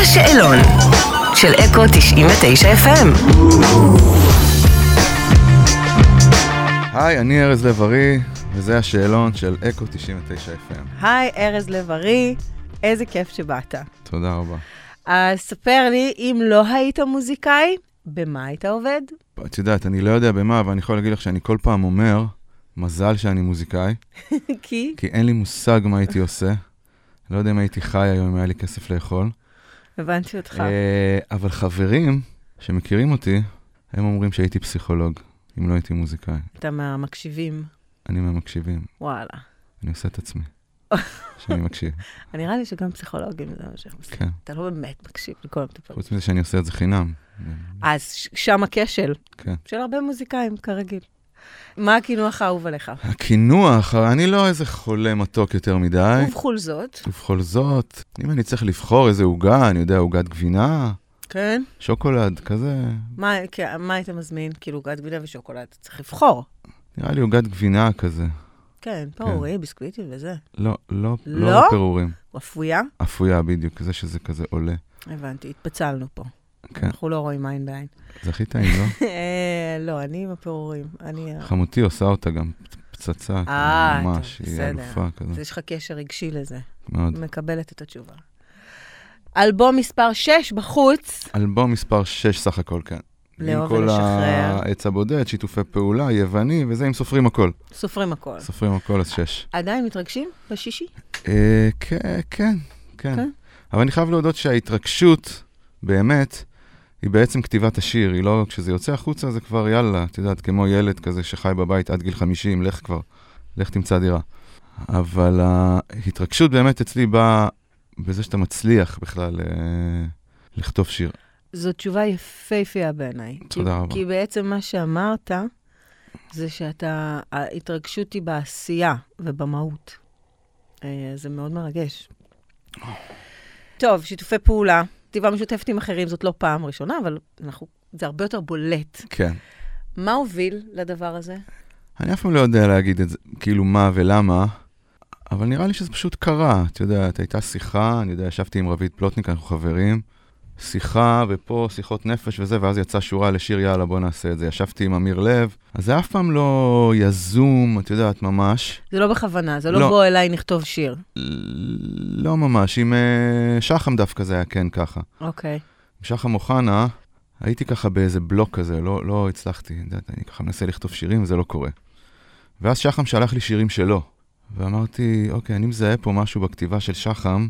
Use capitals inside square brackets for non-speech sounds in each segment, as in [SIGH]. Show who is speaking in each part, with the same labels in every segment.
Speaker 1: השאלון של אקו 99 FM.
Speaker 2: היי, אני ארז לב-ארי, וזה השאלון של אקו 99 FM.
Speaker 3: היי, ארז לב-ארי, איזה כיף שבאת.
Speaker 2: תודה רבה.
Speaker 3: אז ספר לי, אם לא היית מוזיקאי, במה היית עובד? [LAUGHS]
Speaker 2: את יודעת, אני לא יודע במה, אבל אני יכול להגיד לך שאני כל פעם אומר, מזל שאני מוזיקאי,
Speaker 3: כי...
Speaker 2: כי אין לי מושג מה הייתי עושה. לא יודע אם הייתי חי היום, אם היה לי כסף לאכול.
Speaker 3: הבנתי אותך.
Speaker 2: אה, אבל חברים שמכירים אותי, הם אומרים שהייתי פסיכולוג, אם לא הייתי מוזיקאי.
Speaker 3: אתה מהמקשיבים,
Speaker 2: אני מהמקשיבים,
Speaker 3: וואלה.
Speaker 2: אני עושה את עצמי. שאני מקשיב,
Speaker 3: נראה לי שגם פסיכולוגים זה מה שהם עושים.
Speaker 2: כן. אוקיי.
Speaker 3: אתה לא באמת מקשיב לכל המטופלים.
Speaker 2: חוץ מזה שאני עושה את זה חינם.
Speaker 3: אז ש- שם הכשל
Speaker 2: כן.
Speaker 3: של הרבה מוזיקאים, כרגיל. מה הקינוח האהוב עליך?
Speaker 2: הקינוח, אני לא איזה חולה מתוק יותר מדי.
Speaker 3: ובכל זאת,
Speaker 2: ובכל זאת, אם אני צריך לבחור איזה עוגה, אני יודע, עוגת גבינה,
Speaker 3: כן,
Speaker 2: שוקולד, כזה,
Speaker 3: מה, כן, מה היית מזמין? כאילו, עוגת גבינה ושוקולד, צריך לבחור.
Speaker 2: נראה לי עוגת גבינה כזה.
Speaker 3: כן, פרורי, ביסקוויטים וזה.
Speaker 2: לא, לא,
Speaker 3: לא?
Speaker 2: לא פירורים.
Speaker 3: אפויה?
Speaker 2: אפויה בדיוק, זה שזה כזה עולה.
Speaker 3: הבנתי, התפצלנו פה.
Speaker 2: כן,
Speaker 3: אנחנו לא רואים עין בעין.
Speaker 2: זה הכי טעים,
Speaker 3: [LAUGHS]
Speaker 2: לא?
Speaker 3: אה, לא, אני עם הפירורים. אני...
Speaker 2: חמותי עושה אותה גם פצצה,
Speaker 3: אה,
Speaker 2: כאילו, ממש,
Speaker 3: טוב,
Speaker 2: היא
Speaker 3: בסדר.
Speaker 2: אלופה כזה,
Speaker 3: אז יש לך קשר רגשי לזה.
Speaker 2: מאוד.
Speaker 3: מקבלת את התשובה. אלבום מספר 6 בחוץ.
Speaker 2: אלבום מספר 6 סך הכל, כן.
Speaker 3: לאהוב
Speaker 2: עם כל
Speaker 3: ולשחרר.
Speaker 2: העץ הבודד, שיתופי פעולה, יווני, וזה, אם סופרים הכל.
Speaker 3: סופרים הכל.
Speaker 2: סופרים הכל, אז 6.
Speaker 3: עדיין מתרגשים? בשישי?
Speaker 2: אה, כן, כן, כן.
Speaker 3: כן?
Speaker 2: אבל אני חייב להודות שההתרגשות, באמת, היא בעצם כתיבת השיר, היא לא, כשזה יוצא החוצה זה כבר יאללה, את יודעת, כמו ילד כזה שחי בבית עד גיל 50, לך כבר, לך תמצא דירה. אבל ההתרגשות באמת אצלי באה בזה שאתה מצליח בכלל אה, לכתוב שיר.
Speaker 3: זו תשובה יפהפייה בעיניי. כי-
Speaker 2: תודה רבה.
Speaker 3: כי בעצם מה שאמרת, זה שאתה, ההתרגשות היא בעשייה ובמהות. אה, זה מאוד מרגש. טוב, שיתופי פעולה, כתיבה משותפת עם אחרים, זאת לא פעם ראשונה, אבל אנחנו, זה הרבה יותר בולט.
Speaker 2: כן.
Speaker 3: מה הוביל לדבר הזה?
Speaker 2: אני אף פעם לא יודע להגיד את זה, כאילו מה ולמה, אבל נראה לי שזה פשוט קרה. את יודעת, הייתה שיחה, אני יודע, ישבתי עם רביד פלוטניק, אנחנו חברים, שיחה ופה שיחות נפש וזה, ואז יצאה שורה לשיר יאללה בוא נעשה את זה. ישבתי עם אמיר לב, אז זה אף פעם לא יזום, את יודעת, ממש.
Speaker 3: זה לא בכוונה, זה לא,
Speaker 2: לא.
Speaker 3: בוא אליי נכתוב שיר.
Speaker 2: ל- לא ממש, עם אה, שחם דווקא זה היה כן ככה.
Speaker 3: אוקיי.
Speaker 2: עם שחם אוחנה, הייתי ככה באיזה בלוק כזה, לא, לא הצלחתי, את יודעת, אני ככה מנסה לכתוב שירים וזה לא קורה. ואז שחם שלח לי שירים שלו, ואמרתי, אוקיי, אני מזהה פה משהו בכתיבה של שחם,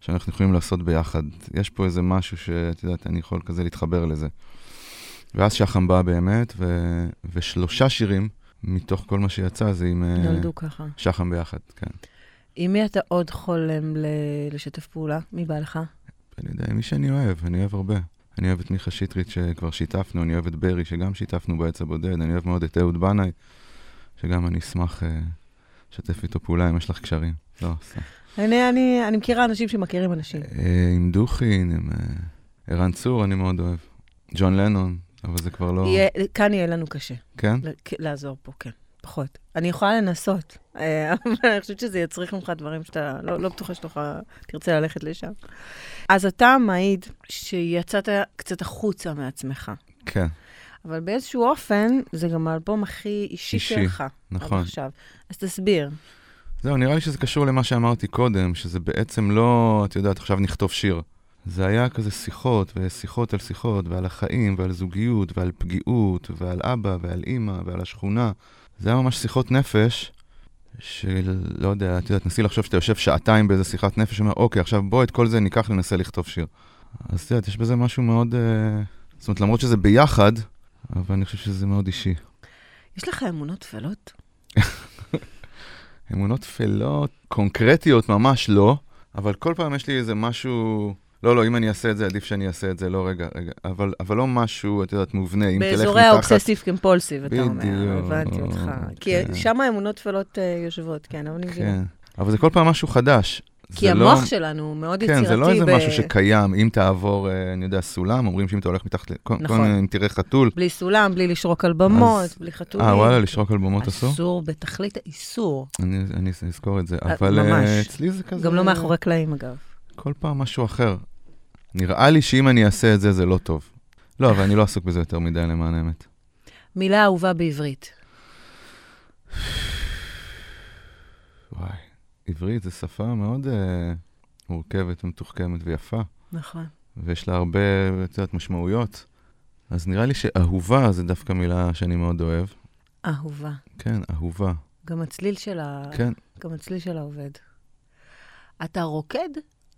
Speaker 2: שאנחנו יכולים לעשות ביחד. יש פה איזה משהו שאת יודעת, אני יכול כזה להתחבר לזה. ואז שחם בא באמת, ו... ושלושה שירים מתוך כל מה שיצא זה עם אה,
Speaker 3: נולדו ככה.
Speaker 2: שחם ביחד, כן.
Speaker 3: עם מי אתה עוד חולם ל- לשתף פעולה? מי בא לך?
Speaker 2: אני יודע, מי שאני אוהב, אני אוהב הרבה. אני אוהב את מיכה שטרית שכבר שיתפנו, אני אוהב את ברי שגם שיתפנו בעץ הבודד, אני אוהב מאוד את אהוד בנאי, שגם אני אשמח אה, לשתף איתו פעולה אם יש לך קשרים. לא, סתם.
Speaker 3: אני, אני, אני מכירה אנשים שמכירים אנשים.
Speaker 2: אה, עם דוכין, עם אה, ערן צור, אני מאוד אוהב. ג'ון לנון, אבל זה כבר לא...
Speaker 3: יהיה, כאן יהיה לנו קשה
Speaker 2: כן?
Speaker 3: ל- כ- לעזור פה, כן, פחות. אני יכולה לנסות, אה, אבל אני חושבת שזה יצריך ממך דברים שאתה לא, לא בטוחה שתוכל, תרצה ללכת לשם. אז אתה מעיד שיצאת קצת החוצה מעצמך,
Speaker 2: כן,
Speaker 3: אבל באיזשהו אופן, זה גם האלבום הכי אישי,
Speaker 2: אישי,
Speaker 3: שלך. עד
Speaker 2: נכון.
Speaker 3: עכשיו. אז תסביר.
Speaker 2: זהו, נראה לי שזה קשור למה שאמרתי קודם, שזה בעצם לא, את יודעת, עכשיו נכתוב שיר. זה היה כזה שיחות, ושיחות על שיחות, ועל החיים, ועל זוגיות, ועל פגיעות, ועל אבא, ועל אימא, ועל השכונה. זה היה ממש שיחות נפש, של, לא יודע, את יודעת, נסי לחשוב שאתה יושב שעתיים באיזה שיחת נפש, ואומר, אוקיי, עכשיו בוא את כל זה ניקח, ננסה לכתוב שיר. אז את יודעת, יש בזה משהו מאוד... אה, זאת אומרת, למרות שזה ביחד, אבל אני חושב שזה מאוד אישי.
Speaker 3: יש לך אמונות טפלות?
Speaker 2: אמונות טפלות, קונקרטיות ממש לא, אבל כל פעם יש לי איזה משהו, לא, לא, אם אני אעשה את זה, עדיף שאני אעשה את זה, לא, רגע, רגע, אבל, אבל לא משהו, את יודעת, מובנה, אם תלך מתחת...
Speaker 3: באזורי האובססיב קמפולסיב, אתה אומר.
Speaker 2: בדיוק,
Speaker 3: הבנתי אותך. כי
Speaker 2: כן.
Speaker 3: שם האמונות טפלות אה, יושבות, כן, אבל אני מבינה.
Speaker 2: כן, אבל זה כל פעם משהו חדש.
Speaker 3: כי
Speaker 2: כן, זה לא-
Speaker 3: המוח שלנו הוא מאוד יצירתי.
Speaker 2: כן, זה לא איזה
Speaker 3: ב-
Speaker 2: משהו שקיים, אם תעבור, אה, אני יודע, סולם, אומרים שאם אתה הולך מתחת, ל- כל- כל
Speaker 3: נכון.
Speaker 2: מיני, אם תראה חתול,
Speaker 3: בלי סולם, בלי לשרוק על במות,
Speaker 2: אז-
Speaker 3: בלי חתולים.
Speaker 2: אה, וואלה, לשרוק על במות אסור?
Speaker 3: אסור בתכלית האיסור. לא
Speaker 2: אני אני אזכור את זה,
Speaker 3: אה,
Speaker 2: אבל אה,
Speaker 3: ממש.
Speaker 2: אצלי זה כזה...
Speaker 3: גם לא מאחורי קלעים, אגב.
Speaker 2: כל פעם משהו אחר. נראה לי שאם אני אעשה את זה, זה לא טוב. לא, אבל אני לא עסוק בזה יותר מדי, למען האמת.
Speaker 3: מילה אהובה בעברית.
Speaker 2: וואי, עברית זו שפה מאוד uh, מורכבת ומתוחכמת ויפה,
Speaker 3: נכון.
Speaker 2: ויש לה הרבה, את יודעת, משמעויות. אז נראה לי שאהובה זה דווקא מילה שאני מאוד אוהב.
Speaker 3: אהובה.
Speaker 2: כן, אהובה.
Speaker 3: גם הצליל של ה...
Speaker 2: כן,
Speaker 3: גם הצליל של העובד. אתה רוקד, [LAUGHS]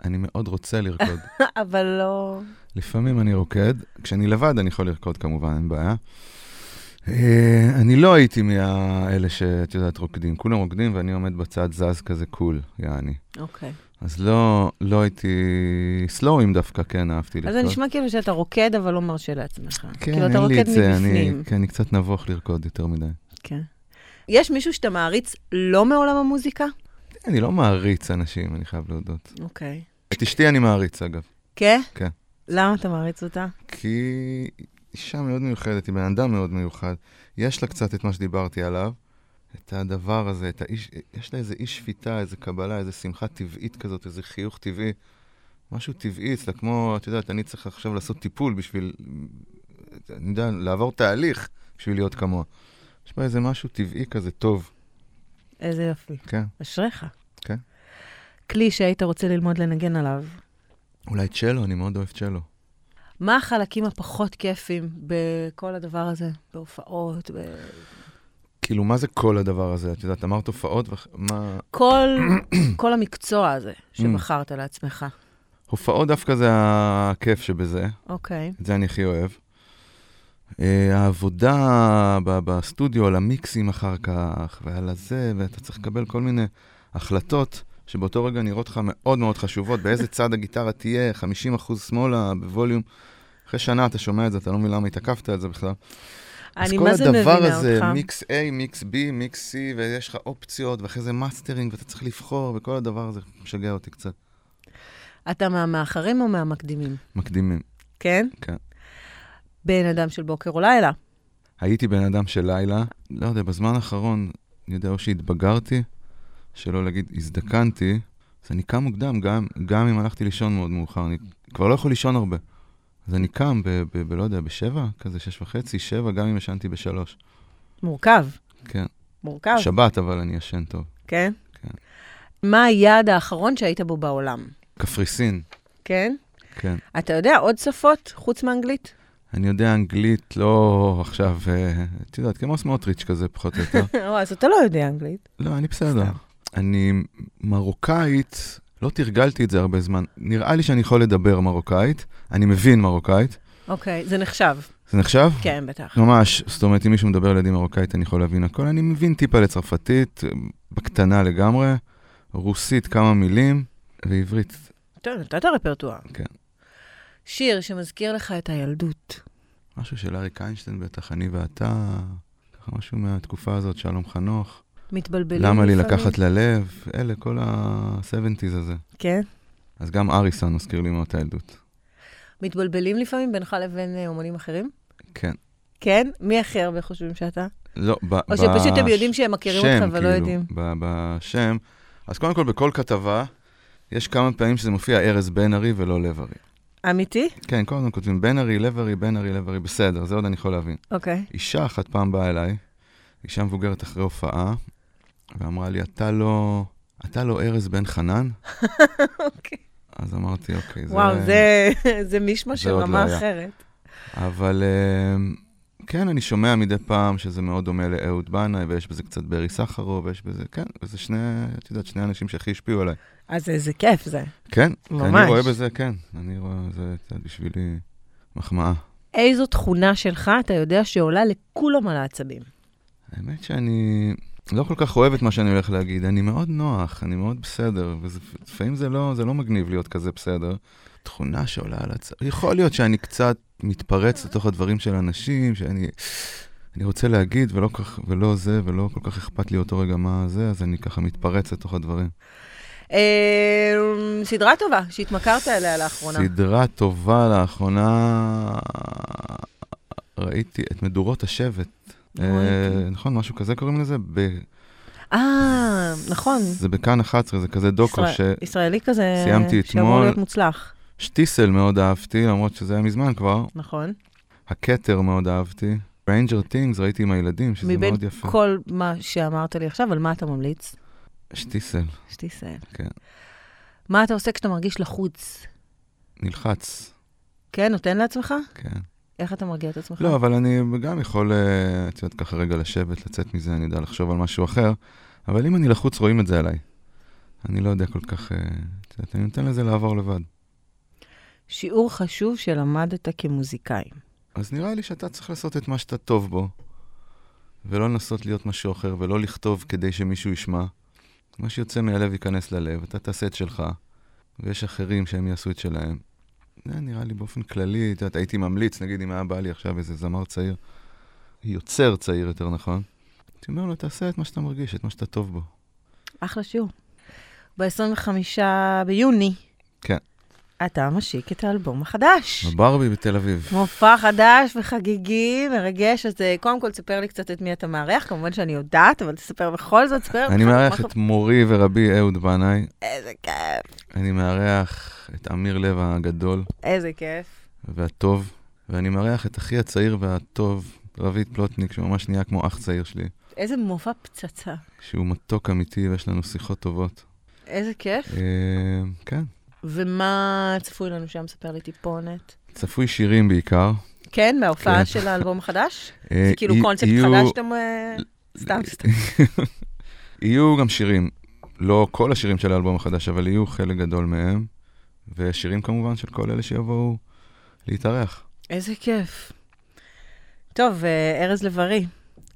Speaker 2: אני מאוד רוצה לרקוד.
Speaker 3: אבל לא...
Speaker 2: לפעמים אני רוקד, כשאני לבד אני יכול לרקוד כמובן, אין בעיה. אה, אני לא הייתי מאלה שאת יודעת רוקדים, כולם רוקדים ואני עומד בצד זז כזה קול, יעני.
Speaker 3: אוקיי.
Speaker 2: אז לא, לא הייתי סלואים דווקא, כן, אהבתי
Speaker 3: אז
Speaker 2: לרקוד.
Speaker 3: זה נשמע כאילו שאתה רוקד, אבל לא מרשה לעצמך.
Speaker 2: כן,
Speaker 3: כאילו, אתה
Speaker 2: אין לי
Speaker 3: רוקד
Speaker 2: את זה, אני,
Speaker 3: מבפנים.
Speaker 2: כן, אני קצת נבוך לרקוד יותר מדי.
Speaker 3: כן. יש מישהו שאתה מעריץ לא מעולם המוזיקה?
Speaker 2: אני לא מעריץ אנשים, אני חייב להודות.
Speaker 3: אוקיי.
Speaker 2: את אשתי אני מעריץ, אגב.
Speaker 3: כן?
Speaker 2: כן.
Speaker 3: למה אתה מעריץ אותה?
Speaker 2: כי אישה מאוד מיוחדת, היא בן אדם מאוד מיוחד. יש לה קצת את מה שדיברתי עליו, את הדבר הזה, את האיש, יש לה איזה אי שפיטה, איזה קבלה, איזה שמחה טבעית כזאת, איזה חיוך טבעי. משהו טבעי אצלה, כמו, את יודעת, אני צריך עכשיו לעשות טיפול בשביל, אני יודע, לעבור תהליך בשביל להיות כמוה. יש בה איזה משהו טבעי כזה טוב,
Speaker 3: איזה יופי.
Speaker 2: כן.
Speaker 3: אשריך.
Speaker 2: כן.
Speaker 3: כלי שהיית רוצה ללמוד לנגן עליו.
Speaker 2: אולי צ'לו, אני מאוד אוהב צ'לו.
Speaker 3: מה החלקים הפחות כיפים בכל הדבר הזה? בהופעות, ב...
Speaker 2: כאילו, מה זה כל הדבר הזה? את יודעת, אמרת הופעות, ואח- מה...
Speaker 3: כל,
Speaker 2: [COUGHS]
Speaker 3: כל המקצוע הזה
Speaker 2: Mm.
Speaker 3: שבחרת לעצמך.
Speaker 2: הופעות דווקא זה הכיף שבזה.
Speaker 3: אוקיי.
Speaker 2: את זה אני הכי אוהב. אה, העבודה ב- בסטודיו, על המיקסים אחר כך, ועל הזה, ואתה צריך לקבל כל מיני החלטות שבאותו רגע נראות לך מאוד מאוד חשובות, באיזה צד הגיטרה תהיה, 50% שמאלה, בווליום. אחרי שנה אתה שומע את זה, אתה לא מבין למה התעכבת על זה בכלל.
Speaker 3: אני מה זה
Speaker 2: אז כל הדבר
Speaker 3: מבינה
Speaker 2: הזה,
Speaker 3: אותך.
Speaker 2: מיקס A, מיקס B, מיקס C, ויש לך אופציות, ואחרי זה מאסטרינג, ואתה צריך לבחור, וכל הדבר הזה משגע אותי קצת.
Speaker 3: אתה מהמאחרים או מהמקדימים?
Speaker 2: מקדימים.
Speaker 3: כן?
Speaker 2: כן.
Speaker 3: בן אדם של בוקר או לילה.
Speaker 2: הייתי בן אדם של לילה, לא יודע, בזמן האחרון, אני יודע, או שהתבגרתי, שלא להגיד הזדקנתי, אז אני קם מוקדם, גם, גם אם הלכתי לישון מאוד מאוחר, אני כבר לא יכול לישון הרבה. אז אני קם ב... ב, ב לא יודע, בשבע, כזה שש וחצי, שבע, גם אם ישנתי בשלוש.
Speaker 3: מורכב.
Speaker 2: כן.
Speaker 3: מורכב, ש...
Speaker 2: שבת, אבל אני ישן טוב.
Speaker 3: כן?
Speaker 2: כן.
Speaker 3: מה היעד האחרון שהיית בו בעולם?
Speaker 2: קפריסין,
Speaker 3: כן?
Speaker 2: כן.
Speaker 3: אתה יודע עוד שפות חוץ מאנגלית?
Speaker 2: אני יודע אנגלית, לא עכשיו, אה, את יודעת, כמו סמוטריץ' כזה, פחות או
Speaker 3: [LAUGHS]
Speaker 2: יותר.
Speaker 3: או, אז אתה לא יודע אנגלית.
Speaker 2: לא, אני בסדר. אני מרוקאית, לא תרגלתי את זה הרבה זמן. נראה לי שאני יכול לדבר מרוקאית, אני מבין מרוקאית.
Speaker 3: אוקיי, זה נחשב.
Speaker 2: זה נחשב?
Speaker 3: כן, בטח.
Speaker 2: ממש, זאת אומרת, אם מישהו מדבר לידי מרוקאית, אני יכול להבין הכל. אני מבין טיפה לצרפתית, בקטנה לגמרי, רוסית כמה מילים, ועברית.
Speaker 3: טוב, נתת רפרטואר.
Speaker 2: כן.
Speaker 3: שיר שמזכיר לך את הילדות.
Speaker 2: משהו של אריק איינשטיין בטח, אני ואתה, ככה משהו מהתקופה הזאת, שלום חנוך.
Speaker 3: מתבלבלים
Speaker 2: למה לי
Speaker 3: לפעמים.
Speaker 2: לקחת ללב? אלה, כל ה-70's הזה.
Speaker 3: כן.
Speaker 2: אז גם אריסון מזכיר לי מאוד את הילדות.
Speaker 3: מתבלבלים לפעמים בינך לבין אה, אומנים אחרים?
Speaker 2: כן.
Speaker 3: כן? מי הכי הרבה חושבים שאתה?
Speaker 2: לא, ב...
Speaker 3: או
Speaker 2: ב-
Speaker 3: שפשוט הם יודעים שהם מכירים
Speaker 2: שם,
Speaker 3: אותך ולא
Speaker 2: כאילו,
Speaker 3: יודעים.
Speaker 2: ב- בשם. אז קודם כל, בכל כתבה, יש כמה פעמים שזה מופיע ארז בן ארי ולא לב ארי.
Speaker 3: אמיתי?
Speaker 2: כן, כל הזמן כותבים בן ארי, לב ארי, בן ארי, לב ארי, בסדר, זה עוד אני יכול להבין. [LAUGHS]
Speaker 3: אוקיי.
Speaker 2: אישה אחת פעם באה אליי, אישה מבוגרת אחרי הופעה, ואמרה לי, אתה לא... אתה לא ארז בן חנן?
Speaker 3: אוקיי.
Speaker 2: אז אמרתי, אוקיי, זה...
Speaker 3: וואו, זה, זה מישמע
Speaker 2: זה
Speaker 3: של
Speaker 2: עוד
Speaker 3: רמה
Speaker 2: לא היה.
Speaker 3: אחרת.
Speaker 2: אבל אמ, כן, אני שומע מדי פעם שזה מאוד דומה לאהוד בנאי, ויש בזה קצת ברי סחרוב, ויש בזה, כן, וזה שני, את יודעת, שני האנשים שהכי השפיעו עליי.
Speaker 3: אז איזה כיף זה.
Speaker 2: כן, כי
Speaker 3: ממש.
Speaker 2: אני רואה בזה, כן, אני רואה, זה את יודעת, בשבילי מחמאה.
Speaker 3: איזו תכונה שלך אתה יודע שעולה לכולם על העצבים?
Speaker 2: האמת שאני לא כל כך אוהב את מה שאני הולך להגיד, אני מאוד נוח, אני מאוד בסדר, ולפעמים זה, לא, זה לא מגניב להיות כזה בסדר. תכונה שעולה על הצ... יכול להיות שאני קצת מתפרץ לתוך הדברים של אנשים, שאני אני רוצה להגיד ולא, כך, ולא זה, ולא כל כך אכפת לי אותו רגע מה זה, אז אני ככה מתפרץ לתוך הדברים.
Speaker 3: אה, סדרה טובה שהתמכרת אליה לאחרונה.
Speaker 2: סדרה טובה לאחרונה, ראיתי את מדורות השבט.
Speaker 3: לא
Speaker 2: אה,
Speaker 3: ראיתי.
Speaker 2: נכון, משהו כזה קוראים לזה? ב...
Speaker 3: אה, נכון.
Speaker 2: זה בכאן 11, זה כזה דוקו
Speaker 3: ישראל- ישראלי כזה,
Speaker 2: סיימתי
Speaker 3: שאמור
Speaker 2: אתמול.
Speaker 3: להיות מוצלח.
Speaker 4: שטיסל מאוד אהבתי, למרות שזה היה מזמן כבר.
Speaker 3: נכון?
Speaker 4: הכתר מאוד אהבתי. Ranger Things ראיתי עם הילדים, שזה
Speaker 3: מבין
Speaker 4: מאוד יפה.
Speaker 3: כל מה שאמרת לי עכשיו, על מה אתה ממליץ?
Speaker 4: שטיסל,
Speaker 3: שתיסער.
Speaker 4: כן.
Speaker 3: מה אתה עושה כשאתה מרגיש לחוץ?
Speaker 4: נלחץ,
Speaker 3: כן, נותן לעצמך?
Speaker 4: כן.
Speaker 3: איך אתה מרגיע את עצמך?
Speaker 4: לא, אבל אני גם יכול, אה, את יודעת, ככה רגע לשבת, לצאת מזה, אני יודע לחשוב על משהו אחר, אבל אם אני לחוץ, רואים את זה עליי. אני לא יודע כל כך, אה, את יודעת, אני נותן לזה לעבור לבד.
Speaker 3: שיעור חשוב שלמדת כמוזיקאי.
Speaker 4: אז נראה לי שאתה צריך לעשות את מה שאתה טוב בו, ולא לנסות להיות משהו אחר, ולא לכתוב כדי שמישהו ישמע. מה שיוצא מהלב ייכנס ללב, אתה תעשה את שלך, ויש אחרים שהם יעשו את שלהם. זה נראה לי באופן כללי, את יודעת, הייתי ממליץ, נגיד אם היה בא לי עכשיו איזה זמר צעיר, יוצר צעיר יותר נכון, הייתי אומר לו, תעשה את מה שאתה מרגיש, את מה שאתה טוב בו.
Speaker 3: אחלה שיעור. ב-25 ביוני.
Speaker 4: כן.
Speaker 3: אתה משיק את האלבום החדש.
Speaker 4: בברבי בתל אביב.
Speaker 3: מופע חדש וחגיגי, מרגש, אז אה, קודם כל תספר לי קצת את מי אתה מארח, כמובן שאני יודעת, אבל תספר בכל זאת, תספר.
Speaker 4: אני
Speaker 3: בכלל,
Speaker 4: מארח
Speaker 3: מה-
Speaker 4: את מורי ורבי אהוד בנאי,
Speaker 3: איזה כיף,
Speaker 4: אני מארח את אמיר לב הגדול,
Speaker 3: איזה כיף.
Speaker 4: והטוב, ואני מארח את אחי הצעיר והטוב, רביד פלוטניק, שממש נהיה כמו אח צעיר שלי,
Speaker 3: איזה מופע פצצה.
Speaker 4: שהוא מתוק אמיתי ויש לנו שיחות טובות.
Speaker 3: איזה כיף.
Speaker 4: אה, כן,
Speaker 3: ומה צפוי לנו שם? ספר לי טיפונת.
Speaker 4: צפוי שירים בעיקר.
Speaker 3: כן,
Speaker 4: כן.
Speaker 3: מההופעה של האלבום החדש?
Speaker 4: אה,
Speaker 3: זה כאילו
Speaker 4: יהיו-
Speaker 3: קונספט
Speaker 4: יהיו-
Speaker 3: חדש שאתם... אה, סתם, סתם.
Speaker 4: יהיו גם שירים, לא כל השירים של האלבום החדש, אבל יהיו חלק גדול מהם, ושירים כמובן של כל אלה שיבואו להתארח.
Speaker 3: איזה כיף. טוב, אה, ארז לב-ארי,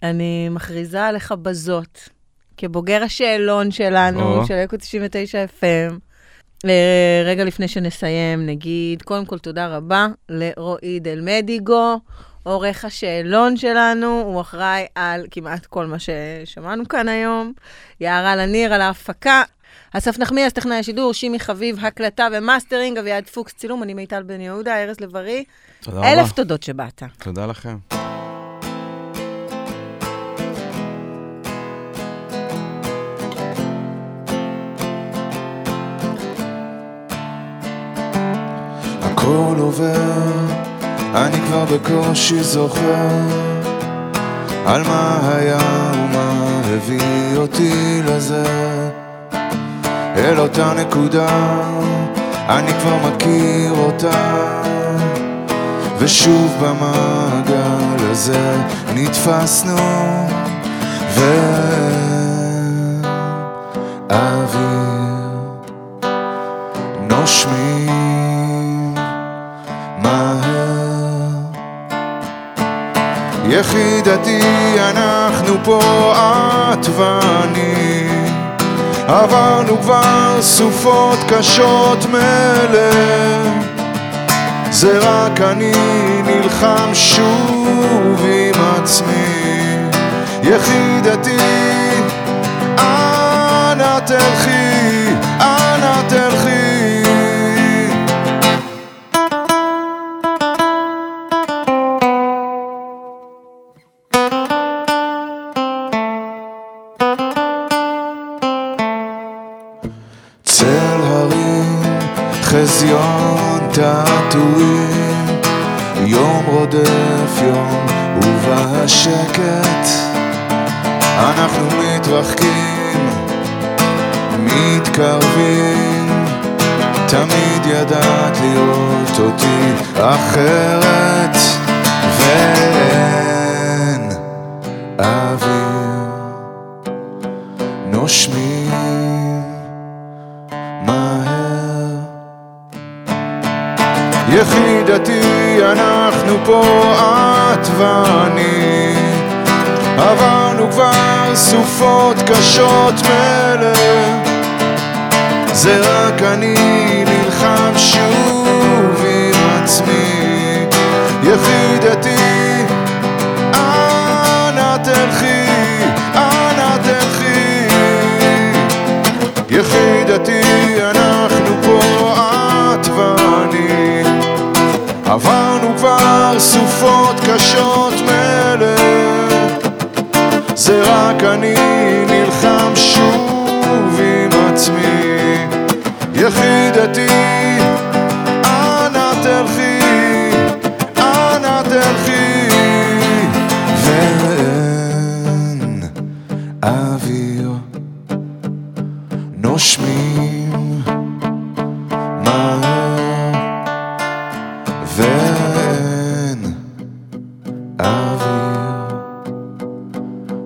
Speaker 3: אני מכריזה עליך בזאת, כבוגר השאלון שלנו,
Speaker 4: או.
Speaker 3: של אקו 99 FM. אה, רגע לפני שנסיים, נגיד, קודם כל תודה רבה לרועי דל מדיגו, עורך השאלון שלנו, הוא אחראי על כמעט כל מה ששמענו כאן היום. יערה לניר על ההפקה. אסף נחמיאס, טכנאי השידור, שימי חביב, הקלטה ומאסטרינג, אביעד פוקס, צילום, אני מיטל בן יהודה, ארז לב-ארי.
Speaker 4: תודה רבה.
Speaker 3: אלף תודות שבאת.
Speaker 4: תודה לכם.
Speaker 2: הכל עובר, אני כבר בקושי זוכר על מה היה ומה הביא אותי לזה אל אותה נקודה, אני כבר מכיר אותה ושוב במעגל הזה נתפסנו ואין אוויר נושמים מהר. יחידתי, אנחנו פה את ואני, עברנו כבר סופות קשות מלך. זה רק אני נלחם שוב עם עצמי, יחידתי, אנא תלכי, אנא תלכי. צל הרים, חזיון תעתועים, יום רודף יום, ובשקט אנחנו מתרחקים, מתקרבים, תמיד ידעת להיות אותי אחרת, ואין אוויר, נושמים. מהר. יחידתי, אנחנו פה, את ואני. עברנו כבר סופות קשות מלך. זה רק אני נלחם שוב עם עצמי. יחידתי, אנא תלכי, אנא תלכי. יחידתי, אנחנו פה, את ואני. עברנו כבר סופות קשות מלך. זה רק אני נלחם שוב עם עצמי. יחידתי, תלכי ואין אוויר נושמים מהר ואין אוויר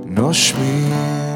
Speaker 2: נושמים